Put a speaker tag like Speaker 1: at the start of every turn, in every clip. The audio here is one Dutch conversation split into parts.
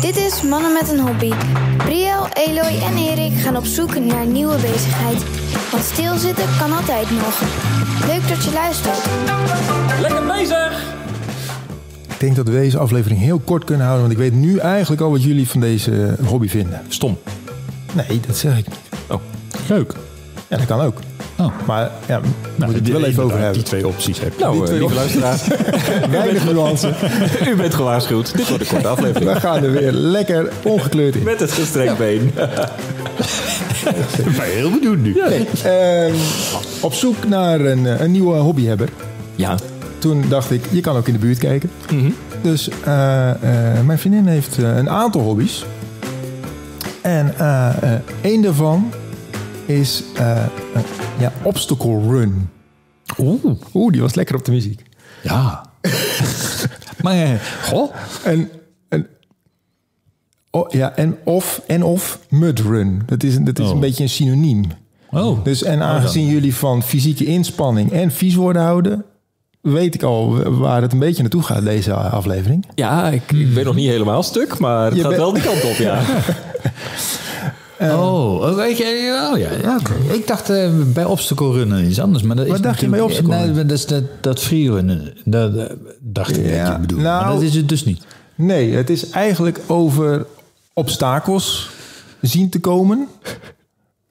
Speaker 1: Dit is Mannen met een Hobby. Briel, Eloy en Erik gaan op zoek naar nieuwe bezigheid. Want stilzitten kan altijd nog. Leuk dat je luistert.
Speaker 2: Lekker bezig!
Speaker 3: Ik denk dat we deze aflevering heel kort kunnen houden, want ik weet nu eigenlijk al wat jullie van deze hobby vinden.
Speaker 4: Stom.
Speaker 3: Nee, dat zeg ik niet.
Speaker 4: Oh,
Speaker 5: Leuk.
Speaker 3: Ja, dat kan ook.
Speaker 5: Oh.
Speaker 3: Maar ja, we moeten het
Speaker 4: Nou, die-
Speaker 3: wel even over
Speaker 4: inderdaad,
Speaker 3: hebben.
Speaker 4: Die twee opties heb je. Nou,
Speaker 3: Die
Speaker 4: eh,
Speaker 3: twee
Speaker 4: lieve luisteraar,
Speaker 3: Weinig nuance.
Speaker 4: u bent gewaarschuwd. Dit wordt een korte aflevering.
Speaker 3: We gaan er weer lekker ongekleurd in.
Speaker 4: Met het gestrekt been.
Speaker 5: Ik ben heel benieuwd nu.
Speaker 3: Nee, ehm, op zoek naar een, eh, een nieuwe hobbyhebber.
Speaker 4: Ja.
Speaker 3: Toen dacht ik, je kan ook in de buurt kijken. Dus eh, eh, mijn vriendin heeft eh, een aantal hobby's. En eh, eh, één daarvan is eh, eh, ja, obstacle run.
Speaker 5: Oeh.
Speaker 3: Oeh, die was lekker op de muziek.
Speaker 5: Ja. maar, eh, goh.
Speaker 3: En, en, oh, ja, en, of, en of mudrun. Dat is, dat is
Speaker 5: Oh.
Speaker 3: een beetje een synoniem.
Speaker 5: Oh.
Speaker 3: Dus, en aangezien jullie van fysieke inspanning en vies worden houden... weet ik al waar het een beetje naartoe gaat, deze aflevering.
Speaker 4: Ja, ik, ik ben nog niet helemaal stuk, maar het
Speaker 3: Je
Speaker 4: gaat
Speaker 3: bent-
Speaker 4: wel die kant op, ja.
Speaker 5: oh, weet je, oh ja, ja oké. ik dacht eh, bij obstacle runnen iets anders. Maar dat
Speaker 3: Wat
Speaker 5: is
Speaker 3: dacht je bij
Speaker 5: natuurlijk-
Speaker 3: obstacle
Speaker 5: Nee, dat is dat, dat freerunnen. Dat eh, dacht ik dat
Speaker 3: Ja.
Speaker 5: je bedoelde. maar
Speaker 3: Nou-
Speaker 5: dat is het dus niet.
Speaker 3: Nee, het is eigenlijk over obstakels zien te komen...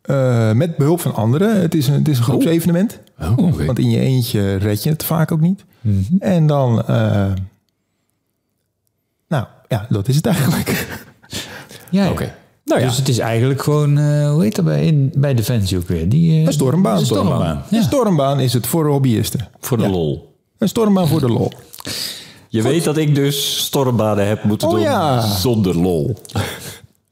Speaker 3: eh, met behulp van anderen. Het is een, het is een groepsevenement.
Speaker 5: Oh, oké. Mhm.
Speaker 3: Want in je eentje red je het vaak ook niet. En dan... eh, nou, ja, dat is het eigenlijk.
Speaker 5: Ja, ja.
Speaker 4: Oké. Nou ja.
Speaker 5: Dus het is eigenlijk gewoon, eh, hoe heet dat bij, in, bij Defensie ook weer? Die, eh,
Speaker 3: Een stormbaan.
Speaker 5: Een stormbaan.
Speaker 3: Een
Speaker 5: Ja.
Speaker 3: stormbaan is het voor hobbyisten.
Speaker 4: Voor de lol.
Speaker 3: Een stormbaan voor de lol.
Speaker 4: Je weet dat ik dus stormbaden heb moeten
Speaker 3: Oh
Speaker 4: doen
Speaker 3: ja.
Speaker 4: zonder lol.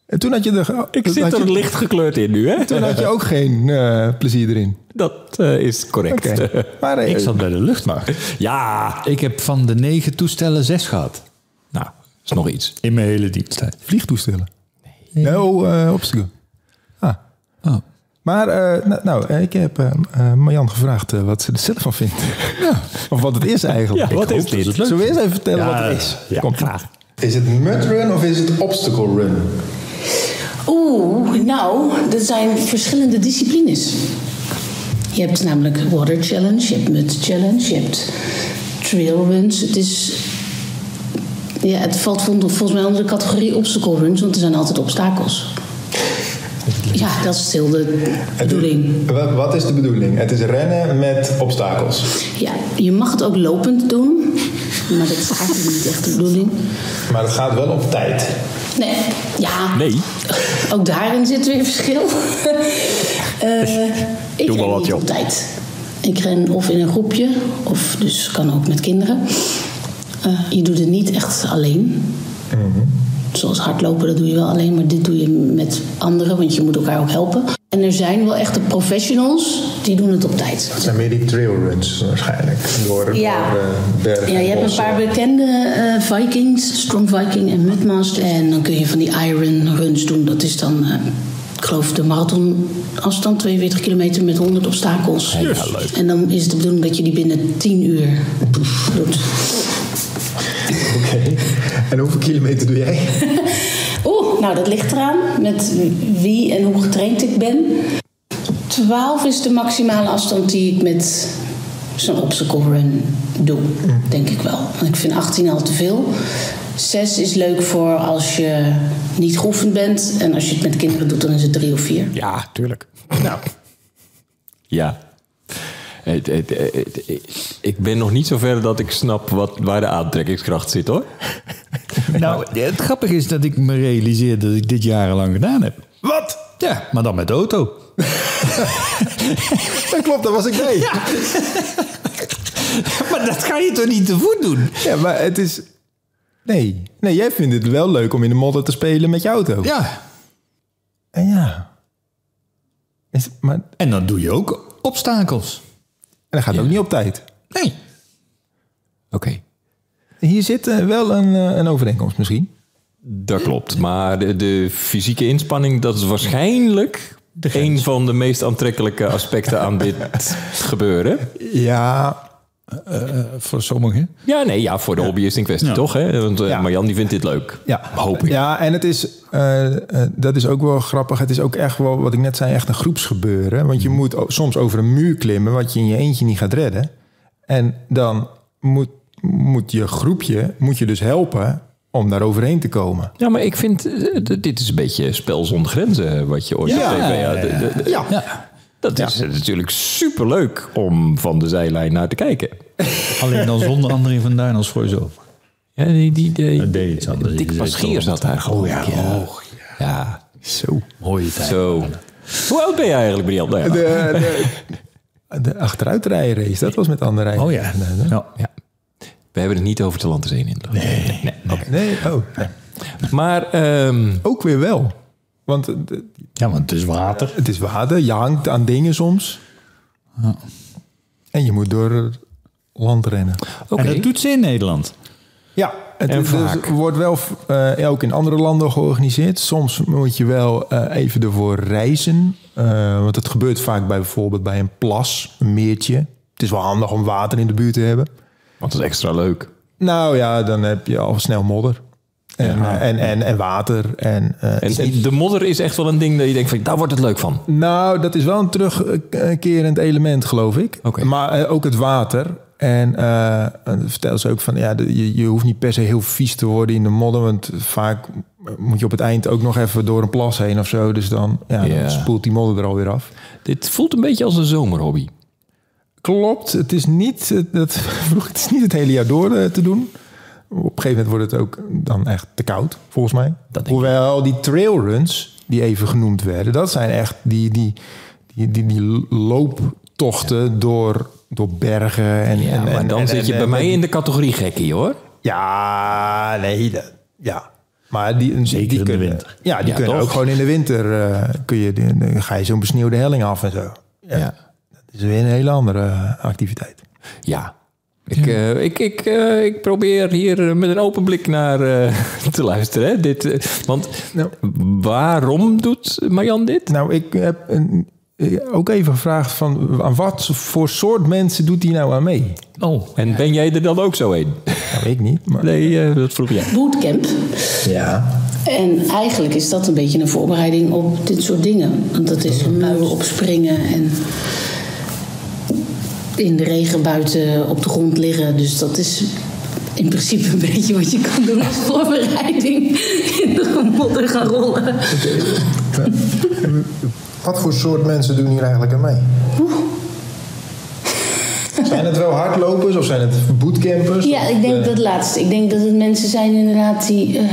Speaker 3: En toen had je, de,
Speaker 4: Ik
Speaker 3: toen
Speaker 4: zit
Speaker 3: had
Speaker 4: er
Speaker 3: je,
Speaker 4: licht gekleurd in nu, hè?
Speaker 3: toen had je ook geen eh, plezier erin.
Speaker 4: Dat eh, is correct.
Speaker 3: Oké. Maar eh,
Speaker 5: Ik zat bij de luchtmacht.
Speaker 4: Ja.
Speaker 5: Ik heb van de negen toestellen zes gehad.
Speaker 4: Nou, is nog iets.
Speaker 5: In mijn hele diensttijd.
Speaker 3: vliegtoestellen. Nee, oh, eh, obstacle. Ah.
Speaker 5: Oh.
Speaker 3: Maar eh, nou, nou, eh, ik heb eh eh, Marjan gevraagd eh, wat ze er zelf van vindt. Of wat het is eigenlijk.
Speaker 4: Ja, wat
Speaker 3: Ik
Speaker 4: is
Speaker 3: hoop dat
Speaker 4: dit?
Speaker 3: het leuk Zullen we eerst even vertellen wat het is?
Speaker 4: ja,
Speaker 3: Komt graag. Is het mudrun of is het obstacle run?
Speaker 6: Oeh, nou, dat zijn verschillende disciplines. Je hebt namelijk water challenge, je hebt mud challenge, je hebt trail runs. Het is... Ja, het valt vol- volgens mij onder de categorie obstacle runs, want er zijn altijd obstakels. Ja, dat is stil de bedoeling.
Speaker 3: Wat, is de bedoeling? Het is rennen met obstakels.
Speaker 6: Ja, je mag het ook lopend doen, maar dat is eigenlijk niet echt de bedoeling.
Speaker 3: Maar het gaat wel op tijd.
Speaker 6: Nee, ja.
Speaker 4: Nee.
Speaker 6: Ook daarin zit weer verschil. Eh, ik
Speaker 4: Doe maar
Speaker 6: ren
Speaker 4: wat,
Speaker 6: niet
Speaker 4: joh.
Speaker 6: op tijd. Ik ren of in een groepje, of dus kan ook met kinderen. Eh, je doet het niet echt alleen.
Speaker 4: Mhm.
Speaker 6: Zoals hardlopen, dat doe je wel alleen, maar dit doe je met anderen, want je moet elkaar ook helpen. En er zijn wel echte professionals die doen het op tijd.
Speaker 3: Het zijn meer die trailruns waarschijnlijk. Door,
Speaker 6: Ja.
Speaker 3: door, eh, bergen
Speaker 6: Ja, je hebt een
Speaker 3: bossen.
Speaker 6: paar bekende eh, Vikings, Strong Viking en Mudmast. En dan kun je van die Iron Runs doen. Dat is dan, eh, ik geloof, de marathonafstand, 42 kilometer met 100 obstakels. En dan is het de bedoeling dat je die binnen 10 uur doet.
Speaker 3: En hoeveel kilometer doe jij?
Speaker 6: Oeh, nou dat ligt eraan met wie en hoe getraind ik ben. 12 is de maximale afstand die ik met zo'n obstacle run doe, denk ik wel. Want ik vind 18 al te veel. 6 is leuk voor als je niet geoefend bent. En als je het met kinderen doet, dan is het 3 of 4.
Speaker 4: Ja, tuurlijk. Nou. Ja. Het- het- het- het- ik ben nog niet zover dat ik snap wat, waar de aantrekkingskracht zit, hoor.
Speaker 5: Nou, het grappige is dat ik me realiseer dat ik dit jarenlang gedaan heb.
Speaker 3: Wat?
Speaker 5: Ja, maar dan met de auto.
Speaker 3: Dat klopt, dat was ik mee. Ja,
Speaker 5: Maar dat ga je toch niet te voet doen?
Speaker 3: maar het is... Nee. nee, jij vindt het wel leuk om in de modder te spelen met je auto.
Speaker 5: Ja.
Speaker 3: En ja. Is, maar en
Speaker 5: En dan doe je ook obstakels.
Speaker 3: dat gaat ook niet op tijd.
Speaker 5: Nee.
Speaker 4: Oké.
Speaker 3: Hier zit eh, wel een, eh, een overeenkomst misschien.
Speaker 4: Dat klopt. Maar de, de fysieke inspanning, dat is waarschijnlijk... een van de meest aantrekkelijke aspecten aan dit gebeuren.
Speaker 3: Ja,
Speaker 5: eh, eh, voor sommigen.
Speaker 4: Ja, nee, ja, voor de hobbyist in kwestie, toch? Hè? Want eh,
Speaker 3: Ja.
Speaker 4: Marjan die vindt dit leuk.
Speaker 3: Ja,
Speaker 4: Hoop ik.
Speaker 3: Ja, en het is, eh, eh, dat is ook wel grappig. Het is ook echt wel, wat ik net zei, echt een groepsgebeuren.
Speaker 4: Mm.
Speaker 3: Want je moet o- soms over een muur klimmen, wat je in je eentje niet gaat redden. En dan moet, moet je groepje, moet je dus helpen om daar overheen te komen.
Speaker 4: Ja, maar ik vind, eh, d- dit is een beetje spel zonder grenzen, eh, wat je ooit
Speaker 3: Ja.
Speaker 4: op tv had. D- d- d-
Speaker 5: Ja.
Speaker 4: Dat is eh, natuurlijk superleuk om van de zijlijn naar te kijken.
Speaker 7: Alleen dan zonder André van Duin als voice-over.
Speaker 4: Ja, die, die, die,
Speaker 7: Dat deed iets anders.
Speaker 4: Dick
Speaker 7: Die deed
Speaker 4: Paschier
Speaker 7: het
Speaker 4: zat daar gewoon. ja. Oh Ja. zo.
Speaker 7: Mooie tijd.
Speaker 4: Zo. Hoe oud ben jij eigenlijk, Brian? Nou ja,
Speaker 3: De, de, de achteruitrijrace, dat was met andere rijden.
Speaker 7: Oh ja. ja.
Speaker 4: ja. We hebben het niet over de land te zeen in. Nee. nee, oké.
Speaker 3: Nee, oh, nee.
Speaker 4: Maar ehm,
Speaker 3: ook weer wel. Want eh, d-
Speaker 7: Ja, want het is water.
Speaker 3: het is water, je hangt aan dingen soms. En je moet door het land rennen.
Speaker 4: oké.
Speaker 7: En dat doet ze in Nederland.
Speaker 3: Ja, het
Speaker 4: En
Speaker 3: dus
Speaker 4: vaak.
Speaker 3: wordt wel eh, ook in andere landen georganiseerd. Soms moet je wel eh, even ervoor reizen. eh, want het gebeurt vaak bij bijvoorbeeld bij een plas, een meertje. Het is wel handig om water in de buurt te hebben.
Speaker 4: Want dat is extra leuk.
Speaker 3: Nou ja, dan heb je al snel modder. En, eh, en, en, en water. En, eh, het
Speaker 4: En,
Speaker 3: is niet-
Speaker 4: en de modder is echt wel een ding dat je denkt van, daar wordt het leuk van.
Speaker 3: nou, dat is wel een terugkerend element, geloof ik.
Speaker 4: Oké.
Speaker 3: Maar eh, ook het water. En eh, en dat vertel ze ook van, ja, de- je, je hoeft niet per se heel vies te worden in de modder. Want vaak eh, moet je op het eind ook nog even door een plas heen of zo. Dus dan, ja, dan
Speaker 4: Ja.
Speaker 3: spoelt die modder er alweer af.
Speaker 4: Dit voelt een beetje als een zomerhobby.
Speaker 3: Klopt, het is niet, eh, dat, vroeg, het, is niet het hele jaar door eh, te doen. Op een gegeven moment wordt het ook dan echt te koud, volgens mij. Hoewel die trailruns die even genoemd werden, dat zijn echt die, die, die, die, die looptochten door, door bergen. En,
Speaker 4: Ja,
Speaker 3: en,
Speaker 4: maar
Speaker 3: en-
Speaker 4: dan
Speaker 3: en-
Speaker 4: zit je
Speaker 3: en-
Speaker 4: bij
Speaker 3: en-
Speaker 4: mij in de categorie gekkie, hoor.
Speaker 3: Ja, nee, dat- ja. Maar die, Zeker die
Speaker 7: in de
Speaker 3: kunnen,
Speaker 7: winter.
Speaker 3: Ja, die
Speaker 4: Ja,
Speaker 3: kunnen
Speaker 4: toch?
Speaker 3: ook gewoon in de winter, eh, kun je, die- dan ga je zo'n besneeuwde helling af en zo. Ja. Dat is weer een hele andere eh, activiteit.
Speaker 4: Ja. Ik, eh, ik, ik, eh, ik probeer hier eh, met een open blik naar eh, te luisteren. Hè. Dit, eh, want
Speaker 3: Nou.
Speaker 4: waarom doet Marjan dit?
Speaker 3: Nou, ik heb een, eh, ook even gevraagd van aan wat voor soort mensen doet hij nou aan mee?
Speaker 7: Oh.
Speaker 4: En ben jij er dan ook zo een?
Speaker 3: Nou, ik niet. Maar,
Speaker 4: Nee, eh, dat vroeg jij.
Speaker 6: bootcamp. En eigenlijk is dat een beetje een voorbereiding op dit soort dingen. Want dat is muilen opspringen en in de regen buiten op de grond liggen. Dus dat is in principe een beetje wat je kan doen als voorbereiding. In de modder gaan rollen.
Speaker 3: Wat voor soort mensen doen hier eigenlijk aan mee? Zijn het wel hardlopers of zijn het bootcampers?
Speaker 6: Ja, ik denk dat laatste. Ik denk dat het mensen zijn inderdaad die eh,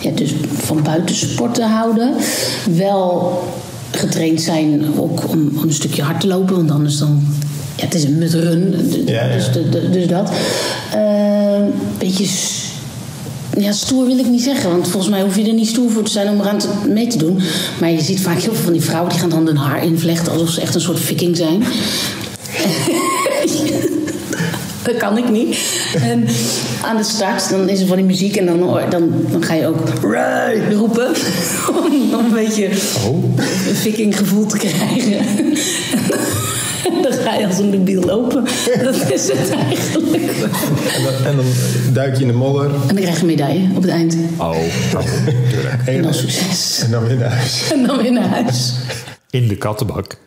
Speaker 6: ja, dus van buiten sporten houden. Wel getraind zijn ook om, om een stukje hard te lopen, want anders dan... Ja, het is een mutrun, d-
Speaker 3: Ja, ja.
Speaker 6: Dus, de- de- dus dat. Eh, beetje... s- Ja, stoer wil ik niet zeggen, want volgens mij hoef je er niet stoer voor te zijn om eraan te, mee te doen. Maar je ziet vaak heel veel van die vrouwen die gaan dan hun haar invlechten alsof ze echt een soort viking zijn. Dat kan ik niet. En aan de start, dan is er van die muziek en dan, hoor- dan, dan ga je ook "Rij!" roepen. Om een beetje een viking gevoel te krijgen. En dan ga je als een debiel lopen. Dat is het eigenlijk.
Speaker 3: En, dan, en dan duik je in de modder
Speaker 6: En dan krijg je een medaille op het eind.
Speaker 4: Oh.
Speaker 6: En dan succes.
Speaker 3: en dan weer naar huis.
Speaker 6: En dan weer naar huis.
Speaker 7: In de kattenbak.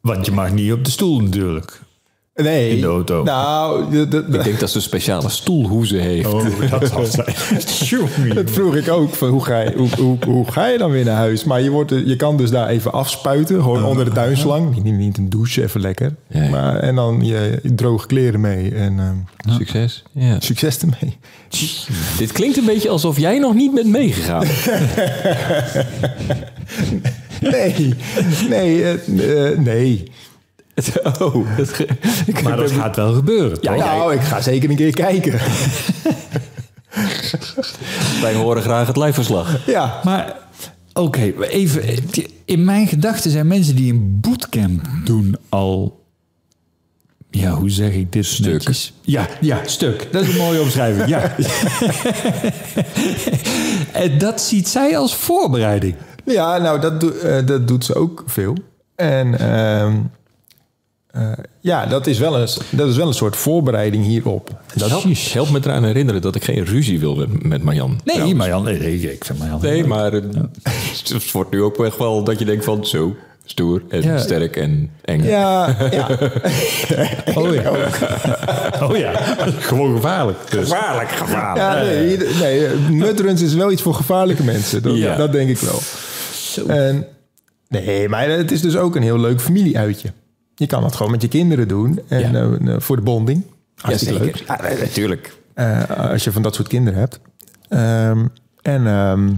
Speaker 7: Want je mag niet op de stoel natuurlijk.
Speaker 3: Nee.
Speaker 7: In de auto.
Speaker 3: Nou, de- de- de-
Speaker 4: Ik denk dat ze een speciale stoelhoezen heeft.
Speaker 7: Oh, dat zal zijn.
Speaker 3: dat vroeg ik ook. Van hoe, ga je, hoe, hoe, hoe ga je dan weer naar huis? Maar je, wordt, er- je kan dus daar even afspuiten. Gewoon onder de tuinslang. Niet, niet een douche, even lekker.
Speaker 4: Ja.
Speaker 3: Maar, en dan je, je droge kleren mee. En, ehm,
Speaker 4: Succes. Ja.
Speaker 3: Succes ermee.
Speaker 4: Dit klinkt een beetje alsof jij nog niet bent meegegaan.
Speaker 3: Nee, nee, eh, eh, nee.
Speaker 4: oh, dat ge- ik-
Speaker 7: Maar dat gaat wel gebeuren, toch?
Speaker 3: nou, ik ga zeker een keer kijken.
Speaker 4: wij horen graag het lijfverslag.
Speaker 3: Ja,
Speaker 7: Maar oké, maar even. In mijn gedachten zijn mensen die een bootcamp doen al. Ja, hoe zeg ik dit? Stuk. Ja, ja, stuk. Dat is een mooie omschrijving. Ja. en Eh, dat ziet zij als voorbereiding.
Speaker 3: ja nou, dat, doe- eh, dat doet ze ook veel. En ehm, eh, eh, ja, dat is, wel een, dat is wel een soort voorbereiding hierop.
Speaker 4: Dat helpt, helpt me eraan herinneren dat ik geen ruzie wil met- met Marjan.
Speaker 7: Nee,
Speaker 4: Trouwens.
Speaker 7: Marjan, nee, nee, ik vind Marjan...
Speaker 4: Nee, maar eh, het wordt nu ook echt wel dat je denkt van zo, stoer en
Speaker 7: Ja.
Speaker 4: sterk en eng.
Speaker 3: Ja, ja.
Speaker 7: Oh ja. oh ja, gewoon gevaarlijk. Dus.
Speaker 4: Gevaarlijk, gevaarlijk.
Speaker 3: ja nee, ieder- nee, eh, mudruns is wel iets voor gevaarlijke mensen. Dat,
Speaker 4: Ja.
Speaker 3: dat denk ik wel. En, nee, maar het is dus ook een heel leuk familieuitje. Je kan dat gewoon met je kinderen doen. En
Speaker 4: Ja.
Speaker 3: eh, eh, voor de bonding. Hartstikke
Speaker 4: Jazeker.
Speaker 3: leuk.
Speaker 4: Ja, nee, natuurlijk.
Speaker 3: Eh, als je van dat soort kinderen hebt. Ehm, en ehm,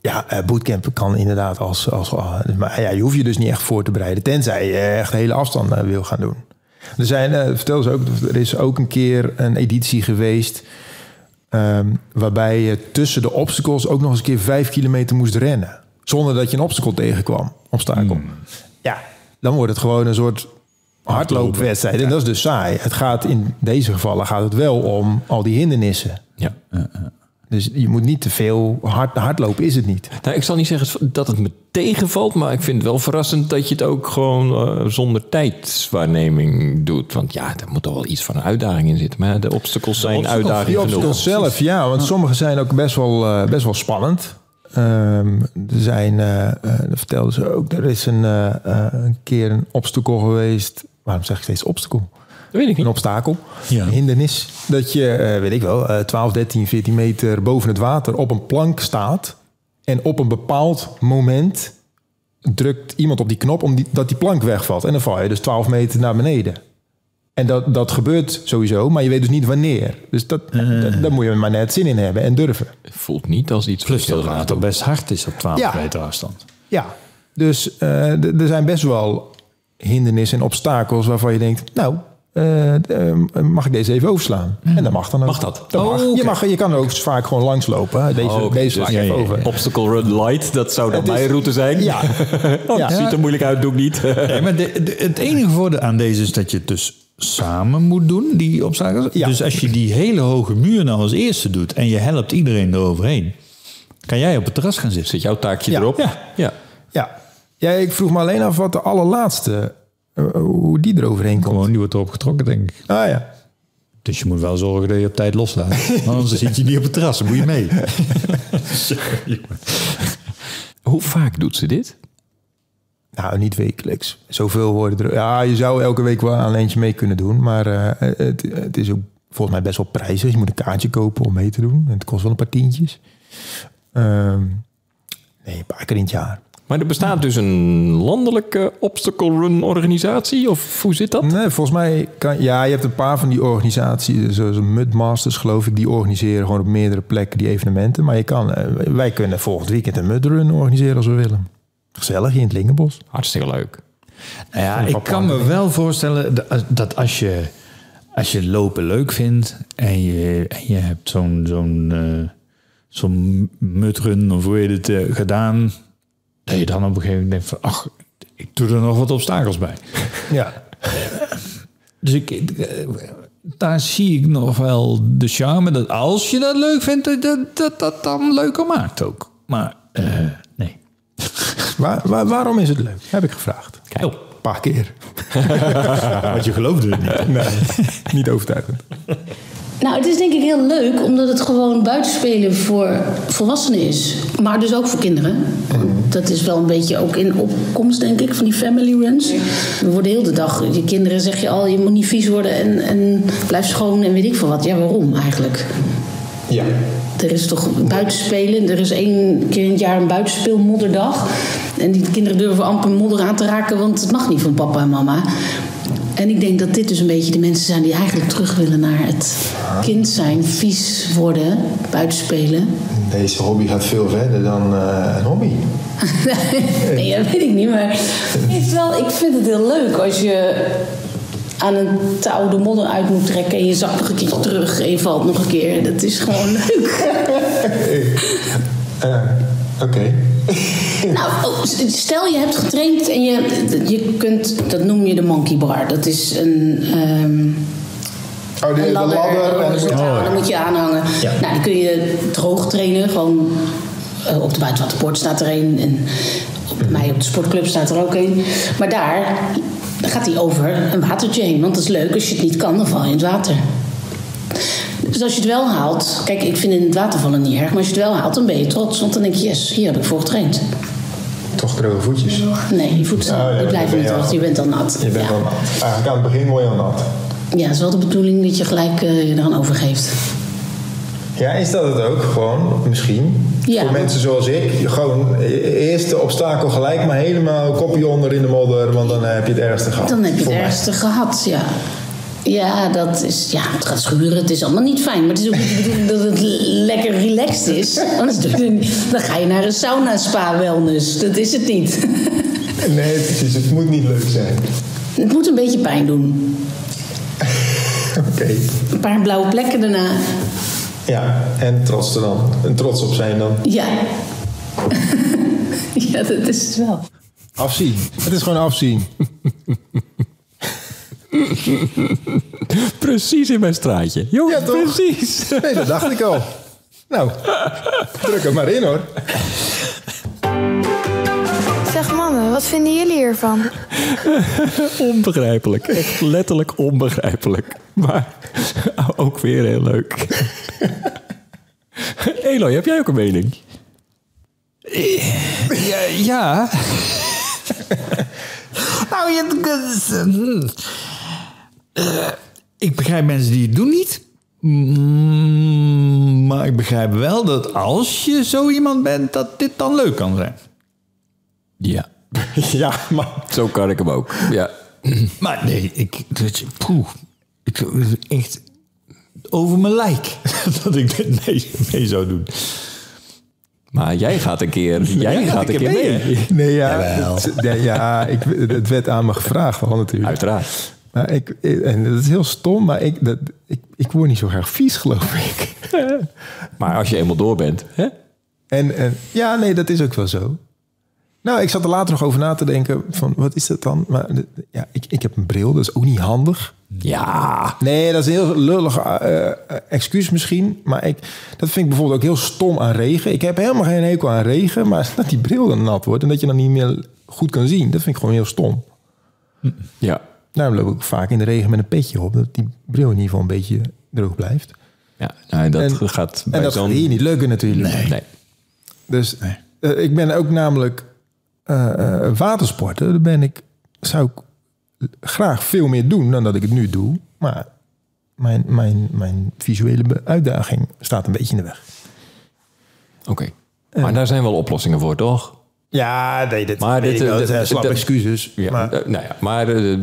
Speaker 3: ja, eh, bootcamp kan inderdaad als... als ah, maar ja, je hoeft je dus niet echt voor te bereiden. Tenzij je echt hele afstanden wil gaan doen. Er zijn, eh, vertel ze ook, er is ook een keer een editie geweest... ehm, waarbij je tussen de obstacles ook nog eens een keer vijf kilometer moest rennen. Zonder dat je een obstacle tegenkwam, obstakel. Ja, dan wordt het gewoon een soort hardloopwedstrijd. En dat is dus saai. Het gaat in deze gevallen gaat het wel om al die hindernissen.
Speaker 4: Ja.
Speaker 3: Dus je moet niet te veel hard, hardlopen is het niet.
Speaker 4: Nou, ik zal niet zeggen dat het me tegenvalt, maar ik vind het wel verrassend dat je het ook gewoon eh, zonder tijdswaarneming doet. Want ja, daar moet toch wel iets van een uitdaging in zitten. Maar ja, de obstacles zijn
Speaker 3: Die
Speaker 4: uitdaging genoeg.
Speaker 3: obstacles zelf, ja, want sommige zijn ook best wel, eh, best wel spannend. Ehm, er zijn, eh, eh, dat vertelden ze ook, er is een, eh, eh, een keer een obstacle geweest. Waarom zeg ik steeds obstacle?
Speaker 4: Dat weet
Speaker 3: Een
Speaker 4: ik niet.
Speaker 3: obstakel,
Speaker 7: Ja.
Speaker 3: een hindernis. Dat je, eh, weet ik wel, eh, 12, 13, 14 meter boven het water op een plank staat. En op een bepaald moment drukt iemand op die knop om die, dat die plank wegvalt. En dan val je dus 12 meter naar beneden. En dat, dat gebeurt sowieso, maar je weet dus niet wanneer. Dus dat, dat- daar moet je maar net zin in hebben en durven.
Speaker 4: Het voelt niet als iets
Speaker 7: Plus
Speaker 4: wat
Speaker 7: dat
Speaker 4: heel
Speaker 7: het
Speaker 4: raar
Speaker 7: aantal best hard is op 12
Speaker 3: Ja.
Speaker 7: meter afstand.
Speaker 3: Ja, dus eh, d- er zijn best wel hindernissen en obstakels waarvan je denkt, nou, eh, d- eh, mag ik deze even overslaan? En dat mag dan ook.
Speaker 4: Hmm. Mag dat?
Speaker 3: mag. Je, mag je kan er ook vaak gewoon langslopen. hè. Deze,
Speaker 4: Oh, oké,
Speaker 3: deze
Speaker 4: dus-
Speaker 3: sla ik
Speaker 4: ja,
Speaker 3: even
Speaker 4: ja, ja.
Speaker 3: over.
Speaker 4: Obstacle run light, dat zou dan
Speaker 3: Het is-
Speaker 4: mijn route zijn.
Speaker 3: Ja,
Speaker 4: Oh,
Speaker 3: Ja.
Speaker 4: Het ziet er moeilijk uit, doe ik niet.
Speaker 7: Nee, maar de- de- het enige voordeel aan deze is dat je het dus samen moet doen, die obstakels.
Speaker 3: Ja.
Speaker 7: Dus als je die hele hoge muur nou als eerste doet en je helpt iedereen eroverheen, kan jij op het terras gaan zitten.
Speaker 4: Zit jouw taakje
Speaker 3: Ja.
Speaker 4: erop?
Speaker 7: Ja.
Speaker 4: ja.
Speaker 3: ja. ja, ik vroeg me alleen af wat de allerlaatste, eh, hoe die eroverheen komt.
Speaker 7: Gewoon, die wordt erop getrokken, denk ik.
Speaker 3: Ah ja.
Speaker 7: Dus je moet wel zorgen dat je op tijd loslaat. Want Anders zit je niet op het terras, dan moet je mee. Sorry, maar-
Speaker 4: Hoe vaak doet ze dit?
Speaker 3: Nou, niet wekelijks. Zoveel worden er. Ja, je zou elke week wel aan eentje mee kunnen doen. Maar eh, het, het is ook volgens mij best wel prijzig. Je moet een kaartje kopen om mee te doen. En het kost wel een paar tientjes. Ehm, nee, een paar keer in het jaar.
Speaker 4: Maar er bestaat dus een landelijke obstacle run organisatie? Of hoe zit dat?
Speaker 3: Nee, volgens mij kan. Ja, je hebt een paar van die organisaties. Zoals Mudmasters, geloof ik. Die organiseren gewoon op meerdere plekken die evenementen. Maar je kan, eh, wij kunnen volgend weekend een Mudrun organiseren als we willen. Gezellig hier in het Lingenbos.
Speaker 4: Hartstikke leuk.
Speaker 7: Nou ja, ik kan me wel voorstellen da- dat als je, als je lopen leuk vindt en je, en je hebt zo'n zo'n eh, zo'n mutrun of hoe je het eh, gedaan, dat je dan op een gegeven moment denkt van, ach, ik doe er nog wat obstakels bij.
Speaker 3: Ja.
Speaker 7: Dus ik, ik, eh, daar zie ik nog wel de charme dat als je dat leuk vindt, dat dat, dat, dat dan leuker maakt ook. Maar eh, nee.
Speaker 3: Waar, waar- waarom is het leuk? Heb ik gevraagd.
Speaker 7: Oh,
Speaker 3: Een paar keer.
Speaker 7: want je geloofde het niet.
Speaker 3: Nee, niet overtuigend.
Speaker 6: Nou, het is denk ik heel leuk omdat het gewoon buitenspelen voor volwassenen is. Maar dus ook voor kinderen. Want dat is wel een beetje ook in opkomst, denk ik, van die family runs. We worden heel de dag, je kinderen zeg je al, je moet niet vies worden en, en blijf schoon en weet ik veel wat. Ja, waarom eigenlijk?
Speaker 3: Ja.
Speaker 6: Er is toch buitenspelen. Er is één keer in het jaar een buitenspeelmodderdag. En die kinderen durven amper modder aan te raken, want het mag niet van papa en mama. En ik denk dat dit dus een beetje de mensen zijn die eigenlijk terug willen naar het kind zijn, vies worden, buitenspelen.
Speaker 3: Deze hobby gaat veel verder dan eh, een hobby.
Speaker 6: nee, dat weet ik niet, maar het is wel, ik vind het heel leuk als je aan een touw de modder uit moet trekken en je zakt nog een keertje terug en je valt nog een keer. Dat is gewoon leuk.
Speaker 3: Oké.
Speaker 6: Nou, oh, s- stel je hebt getraind en je, je kunt, dat noem je de monkey bar. Dat is een, ehm,
Speaker 3: Oh,
Speaker 6: een ladder, horizontaal, daar eh, moet je aanhangen. Nou, die kun je droog trainen, gewoon eh, op de buitenwaterpoort staat er een en op, bij mij op de sportclub staat er ook een. Maar daar Dan gaat hij over een watertje heen. Want dat is leuk. Als je het niet kan, dan val je in het water. Dus als je het wel haalt... Kijk, ik vind in het water vallen niet erg. Maar als je het wel haalt, dan ben je trots. Want dan denk je, yes, hier heb ik voor getraind.
Speaker 8: Toch droge voetjes.
Speaker 6: Nee, je voedsel,
Speaker 8: Oh ja,
Speaker 6: die
Speaker 8: dan
Speaker 6: blijven
Speaker 8: ben
Speaker 6: niet
Speaker 8: je
Speaker 6: droog.
Speaker 8: al-
Speaker 6: Je bent al nat.
Speaker 8: Je bent
Speaker 6: ja.
Speaker 8: dan eigenlijk aan het begin mooi aan nat.
Speaker 6: ja, het is wel de bedoeling dat je gelijk eh, je eraan overgeeft.
Speaker 8: Ja, is dat het ook gewoon, misschien?
Speaker 6: Ja.
Speaker 8: Voor mensen zoals ik, je gewoon e- eerst de obstakel gelijk, maar helemaal kopje onder in de modder, want dan heb je het ergste gehad.
Speaker 6: Dan heb je
Speaker 8: Voor
Speaker 6: het
Speaker 8: mij.
Speaker 6: ergste gehad, ja. Ja, dat is, ja, het gaat schuren, het is allemaal niet fijn. Maar het is ook niet de bedoeling dat het l- lekker relaxed is. Anders doe je het niet. dan ga je naar een sauna spa wellness. Dat is het niet.
Speaker 8: Nee, precies. Het moet niet leuk zijn.
Speaker 6: Het moet een beetje pijn doen.
Speaker 8: Oké.
Speaker 6: Een paar blauwe plekken daarna.
Speaker 8: Ja, en trots er dan. En trots op zijn dan.
Speaker 6: Ja. Ja, dat is het wel.
Speaker 3: Afzien. Het is gewoon afzien.
Speaker 4: Precies in mijn straatje. Jongen,
Speaker 3: Ja, toch?
Speaker 4: precies.
Speaker 3: Nee, dat dacht ik al. Nou, druk het maar in hoor.
Speaker 1: Zeg mannen, wat vinden jullie hiervan?
Speaker 4: Onbegrijpelijk. Echt letterlijk onbegrijpelijk. Maar ook weer heel leuk. Eloy, heb jij ook een mening?
Speaker 7: Ja. ja. nou, je, Eh, ik begrijp mensen die het doen niet. Mm, Maar ik begrijp wel dat als je zo iemand bent, dat dit dan leuk kan zijn.
Speaker 4: Ja.
Speaker 8: Ja, maar...
Speaker 4: Zo kan ik hem ook. Ja.
Speaker 7: Maar nee, ik, dat, poeh, ik echt over mijn lijk dat ik dit mee, mee zou doen.
Speaker 4: Maar jij gaat een keer, jij
Speaker 7: gaat
Speaker 4: gaat een keer mee.
Speaker 3: Nee, ja, het, nee, ja ik, het werd aan me gevraagd al natuurlijk.
Speaker 4: Uiteraard.
Speaker 3: Maar ik, en dat is heel stom, maar ik, dat, ik, ik word niet zo graag vies, geloof ik.
Speaker 4: Maar als je eenmaal door bent, hè?
Speaker 3: En, en ja, nee, dat is ook wel zo. Nou, ik zat er later nog over na te denken van wat is dat dan? Maar de- ja, ik, ik heb een bril, dat is ook niet handig.
Speaker 4: Ja.
Speaker 3: Nee, dat is een heel lullig eh, eh, excuus misschien. Maar ik, dat vind ik bijvoorbeeld ook heel stom aan regen. Ik heb helemaal geen hekel aan regen, maar dat die bril dan nat wordt en dat je dan niet meer goed kan zien, dat vind ik gewoon heel stom.
Speaker 4: Ja.
Speaker 3: Daarom loop ik ook vaak in de regen met een petje op, dat die bril in ieder geval een beetje droog blijft.
Speaker 4: Ja, nou, dat
Speaker 3: En-
Speaker 4: gaat
Speaker 3: En
Speaker 4: bij
Speaker 3: dat gaat
Speaker 4: zo'n...
Speaker 3: hier niet lukken natuurlijk.
Speaker 4: Nee.
Speaker 3: Dus eh, ik ben ook namelijk eh, eh, watersporter. Daar ben ik, zou ik graag veel meer doen dan dat ik het nu doe. Maar mijn, mijn, mijn visuele be- uitdaging staat een beetje in de weg.
Speaker 4: Oké. Maar daar zijn wel oplossingen voor, toch?
Speaker 3: Ja, nee, dit,
Speaker 4: Maar dit,
Speaker 3: ik wel,
Speaker 4: eh,
Speaker 3: het zijn
Speaker 4: dit-
Speaker 3: slappe
Speaker 4: dit-
Speaker 3: excuses.
Speaker 4: Ja,
Speaker 3: maar,
Speaker 4: eh, nou ja, maar, eh,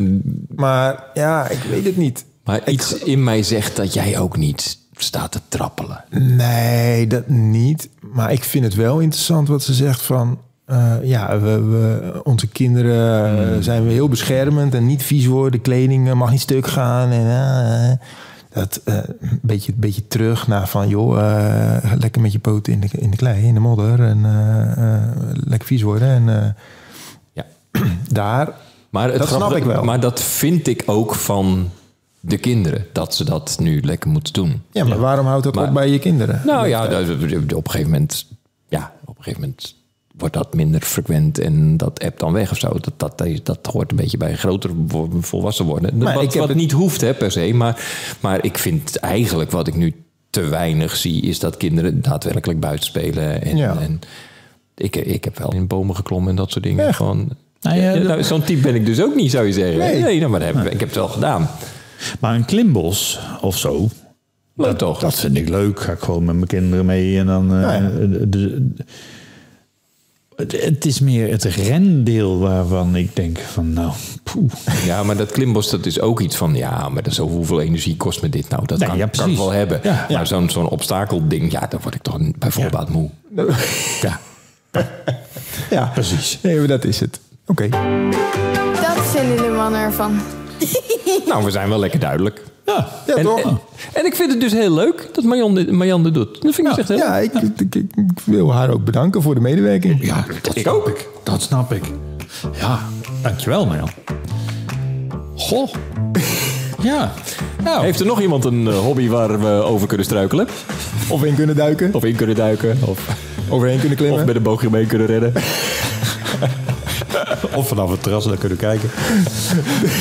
Speaker 3: maar ja, ik weet het niet.
Speaker 4: maar iets in mij zegt dat jij ook niet staat te trappelen.
Speaker 3: Nee, dat niet. Maar ik vind het wel interessant wat ze zegt van... eh, ja, we, we- onze kinderen eh, zijn we heel beschermend en niet vies worden. Kleding eh, mag niet stuk gaan. En, eh, eh. dat eh, een beetje, een beetje terug naar van... joh, eh, lekker met je poten in de, in de klei, in de modder. En eh, eh, lekker vies worden. En
Speaker 4: Ja.
Speaker 3: eh, daar...
Speaker 4: Maar het
Speaker 3: Dat
Speaker 4: grappige-
Speaker 3: snap ik wel.
Speaker 4: Maar dat vind ik ook van de kinderen, dat ze dat nu lekker moeten doen.
Speaker 3: Ja, maar waarom houdt dat
Speaker 4: Maar-
Speaker 3: op bij je kinderen?
Speaker 4: Nou ja, dat- op een gegeven moment, ja, op een gegeven moment wordt dat minder frequent en dat app dan weg of zo. Dat, dat, dat hoort een beetje bij groter wo- volwassen worden.
Speaker 3: Maar
Speaker 4: wat
Speaker 3: ik heb
Speaker 4: wat
Speaker 3: het-
Speaker 4: niet hoeft hè, per se, maar, maar ik vind eigenlijk wat ik nu te weinig zie, is dat kinderen daadwerkelijk buiten spelen. En,
Speaker 3: Ja.
Speaker 4: en ik, ik heb wel in bomen geklommen en dat soort dingen.
Speaker 3: Echt?
Speaker 4: Gewoon,
Speaker 7: Nou ja,
Speaker 4: Ja,
Speaker 7: dat-
Speaker 4: nou, zo'n type ben ik dus ook niet, zou je zeggen.
Speaker 3: Nee.
Speaker 4: Nee, nou, maar dat heb, ik- ik heb het wel gedaan.
Speaker 5: Maar een klimbos of zo,
Speaker 4: Leuk toch?
Speaker 5: dat vind ik leuk. Ga ik gewoon met mijn kinderen mee en dan... eh,
Speaker 3: Ja, ja.
Speaker 5: de- de- het, het is meer het rendeel waarvan ik denk van nou, poeh.
Speaker 4: Ja, maar dat klimbos, dat is ook iets van... ja, maar dat is zo, hoeveel energie kost me dit nou? Dat
Speaker 5: Nee,
Speaker 4: kan,
Speaker 5: ja,
Speaker 4: kan ik
Speaker 5: precies.
Speaker 4: wel hebben.
Speaker 5: Ja, ja.
Speaker 4: Maar zo'n zo'n obstakelding, ja, daar word ik toch bij voorbaat moe.
Speaker 5: Ja,
Speaker 3: ja,
Speaker 5: precies.
Speaker 3: Nee, maar dat is het. Oké.
Speaker 1: Dat vinden de mannen ervan.
Speaker 4: Nou, we zijn wel lekker duidelijk.
Speaker 5: Ja.
Speaker 3: Ja,
Speaker 4: en,
Speaker 3: toch?
Speaker 4: En, en ik vind het dus heel leuk dat Marjan dit, Marjan dit doet. Dat vind ik dus echt heel
Speaker 3: Ja, ik, ik, ik- ik wil haar ook bedanken voor de medewerking.
Speaker 5: Ja, dat
Speaker 4: Ik
Speaker 5: snap
Speaker 4: ook.
Speaker 5: ik. Dat snap ik. Ja, dankjewel Marjan. Goh. Ja. Nou,
Speaker 4: Heeft er nog iemand een eh, hobby waar we over kunnen struikelen?
Speaker 3: Of in kunnen duiken,
Speaker 4: Of in kunnen duiken? Of,
Speaker 3: overheen kunnen
Speaker 4: of
Speaker 3: klimmen.
Speaker 4: met een boogje mee kunnen redden?
Speaker 5: Of vanaf het terras naar kunnen kijken.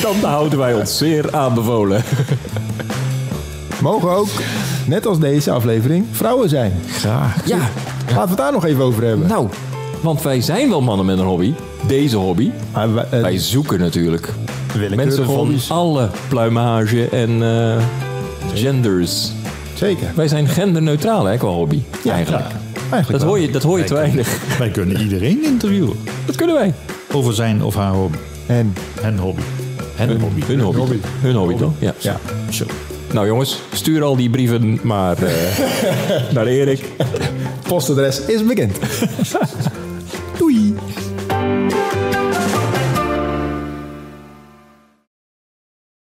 Speaker 4: Dan houden wij ons zeer aanbevolen.
Speaker 3: Mogen ook, net als deze aflevering, vrouwen zijn.
Speaker 5: Graag.
Speaker 4: Ja,
Speaker 3: Laten we het daar nog even over hebben.
Speaker 4: nou, want wij zijn wel mannen met een hobby. Deze hobby.
Speaker 3: Maar wij- eh,
Speaker 4: Wij zoeken natuurlijk mensen van
Speaker 3: hobby's.
Speaker 4: alle pluimage en eh, genders.
Speaker 3: Zeker.
Speaker 4: Wij zijn genderneutraal hè, qua hobby, eigenlijk.
Speaker 3: Eigenlijk
Speaker 4: Dat
Speaker 3: wel.
Speaker 4: hoor je, dat hoor je te weinig.
Speaker 5: Wij kunnen iedereen interviewen.
Speaker 4: Dat kunnen wij.
Speaker 5: Over zijn of haar hobby.
Speaker 3: En
Speaker 5: En hobby. En hobby.
Speaker 4: Hun hobby. Hun hobby, toch? Ja.
Speaker 3: ja,
Speaker 5: Zo.
Speaker 4: Nou jongens, stuur al die brieven maar eh, naar Erik.
Speaker 3: postadres is bekend.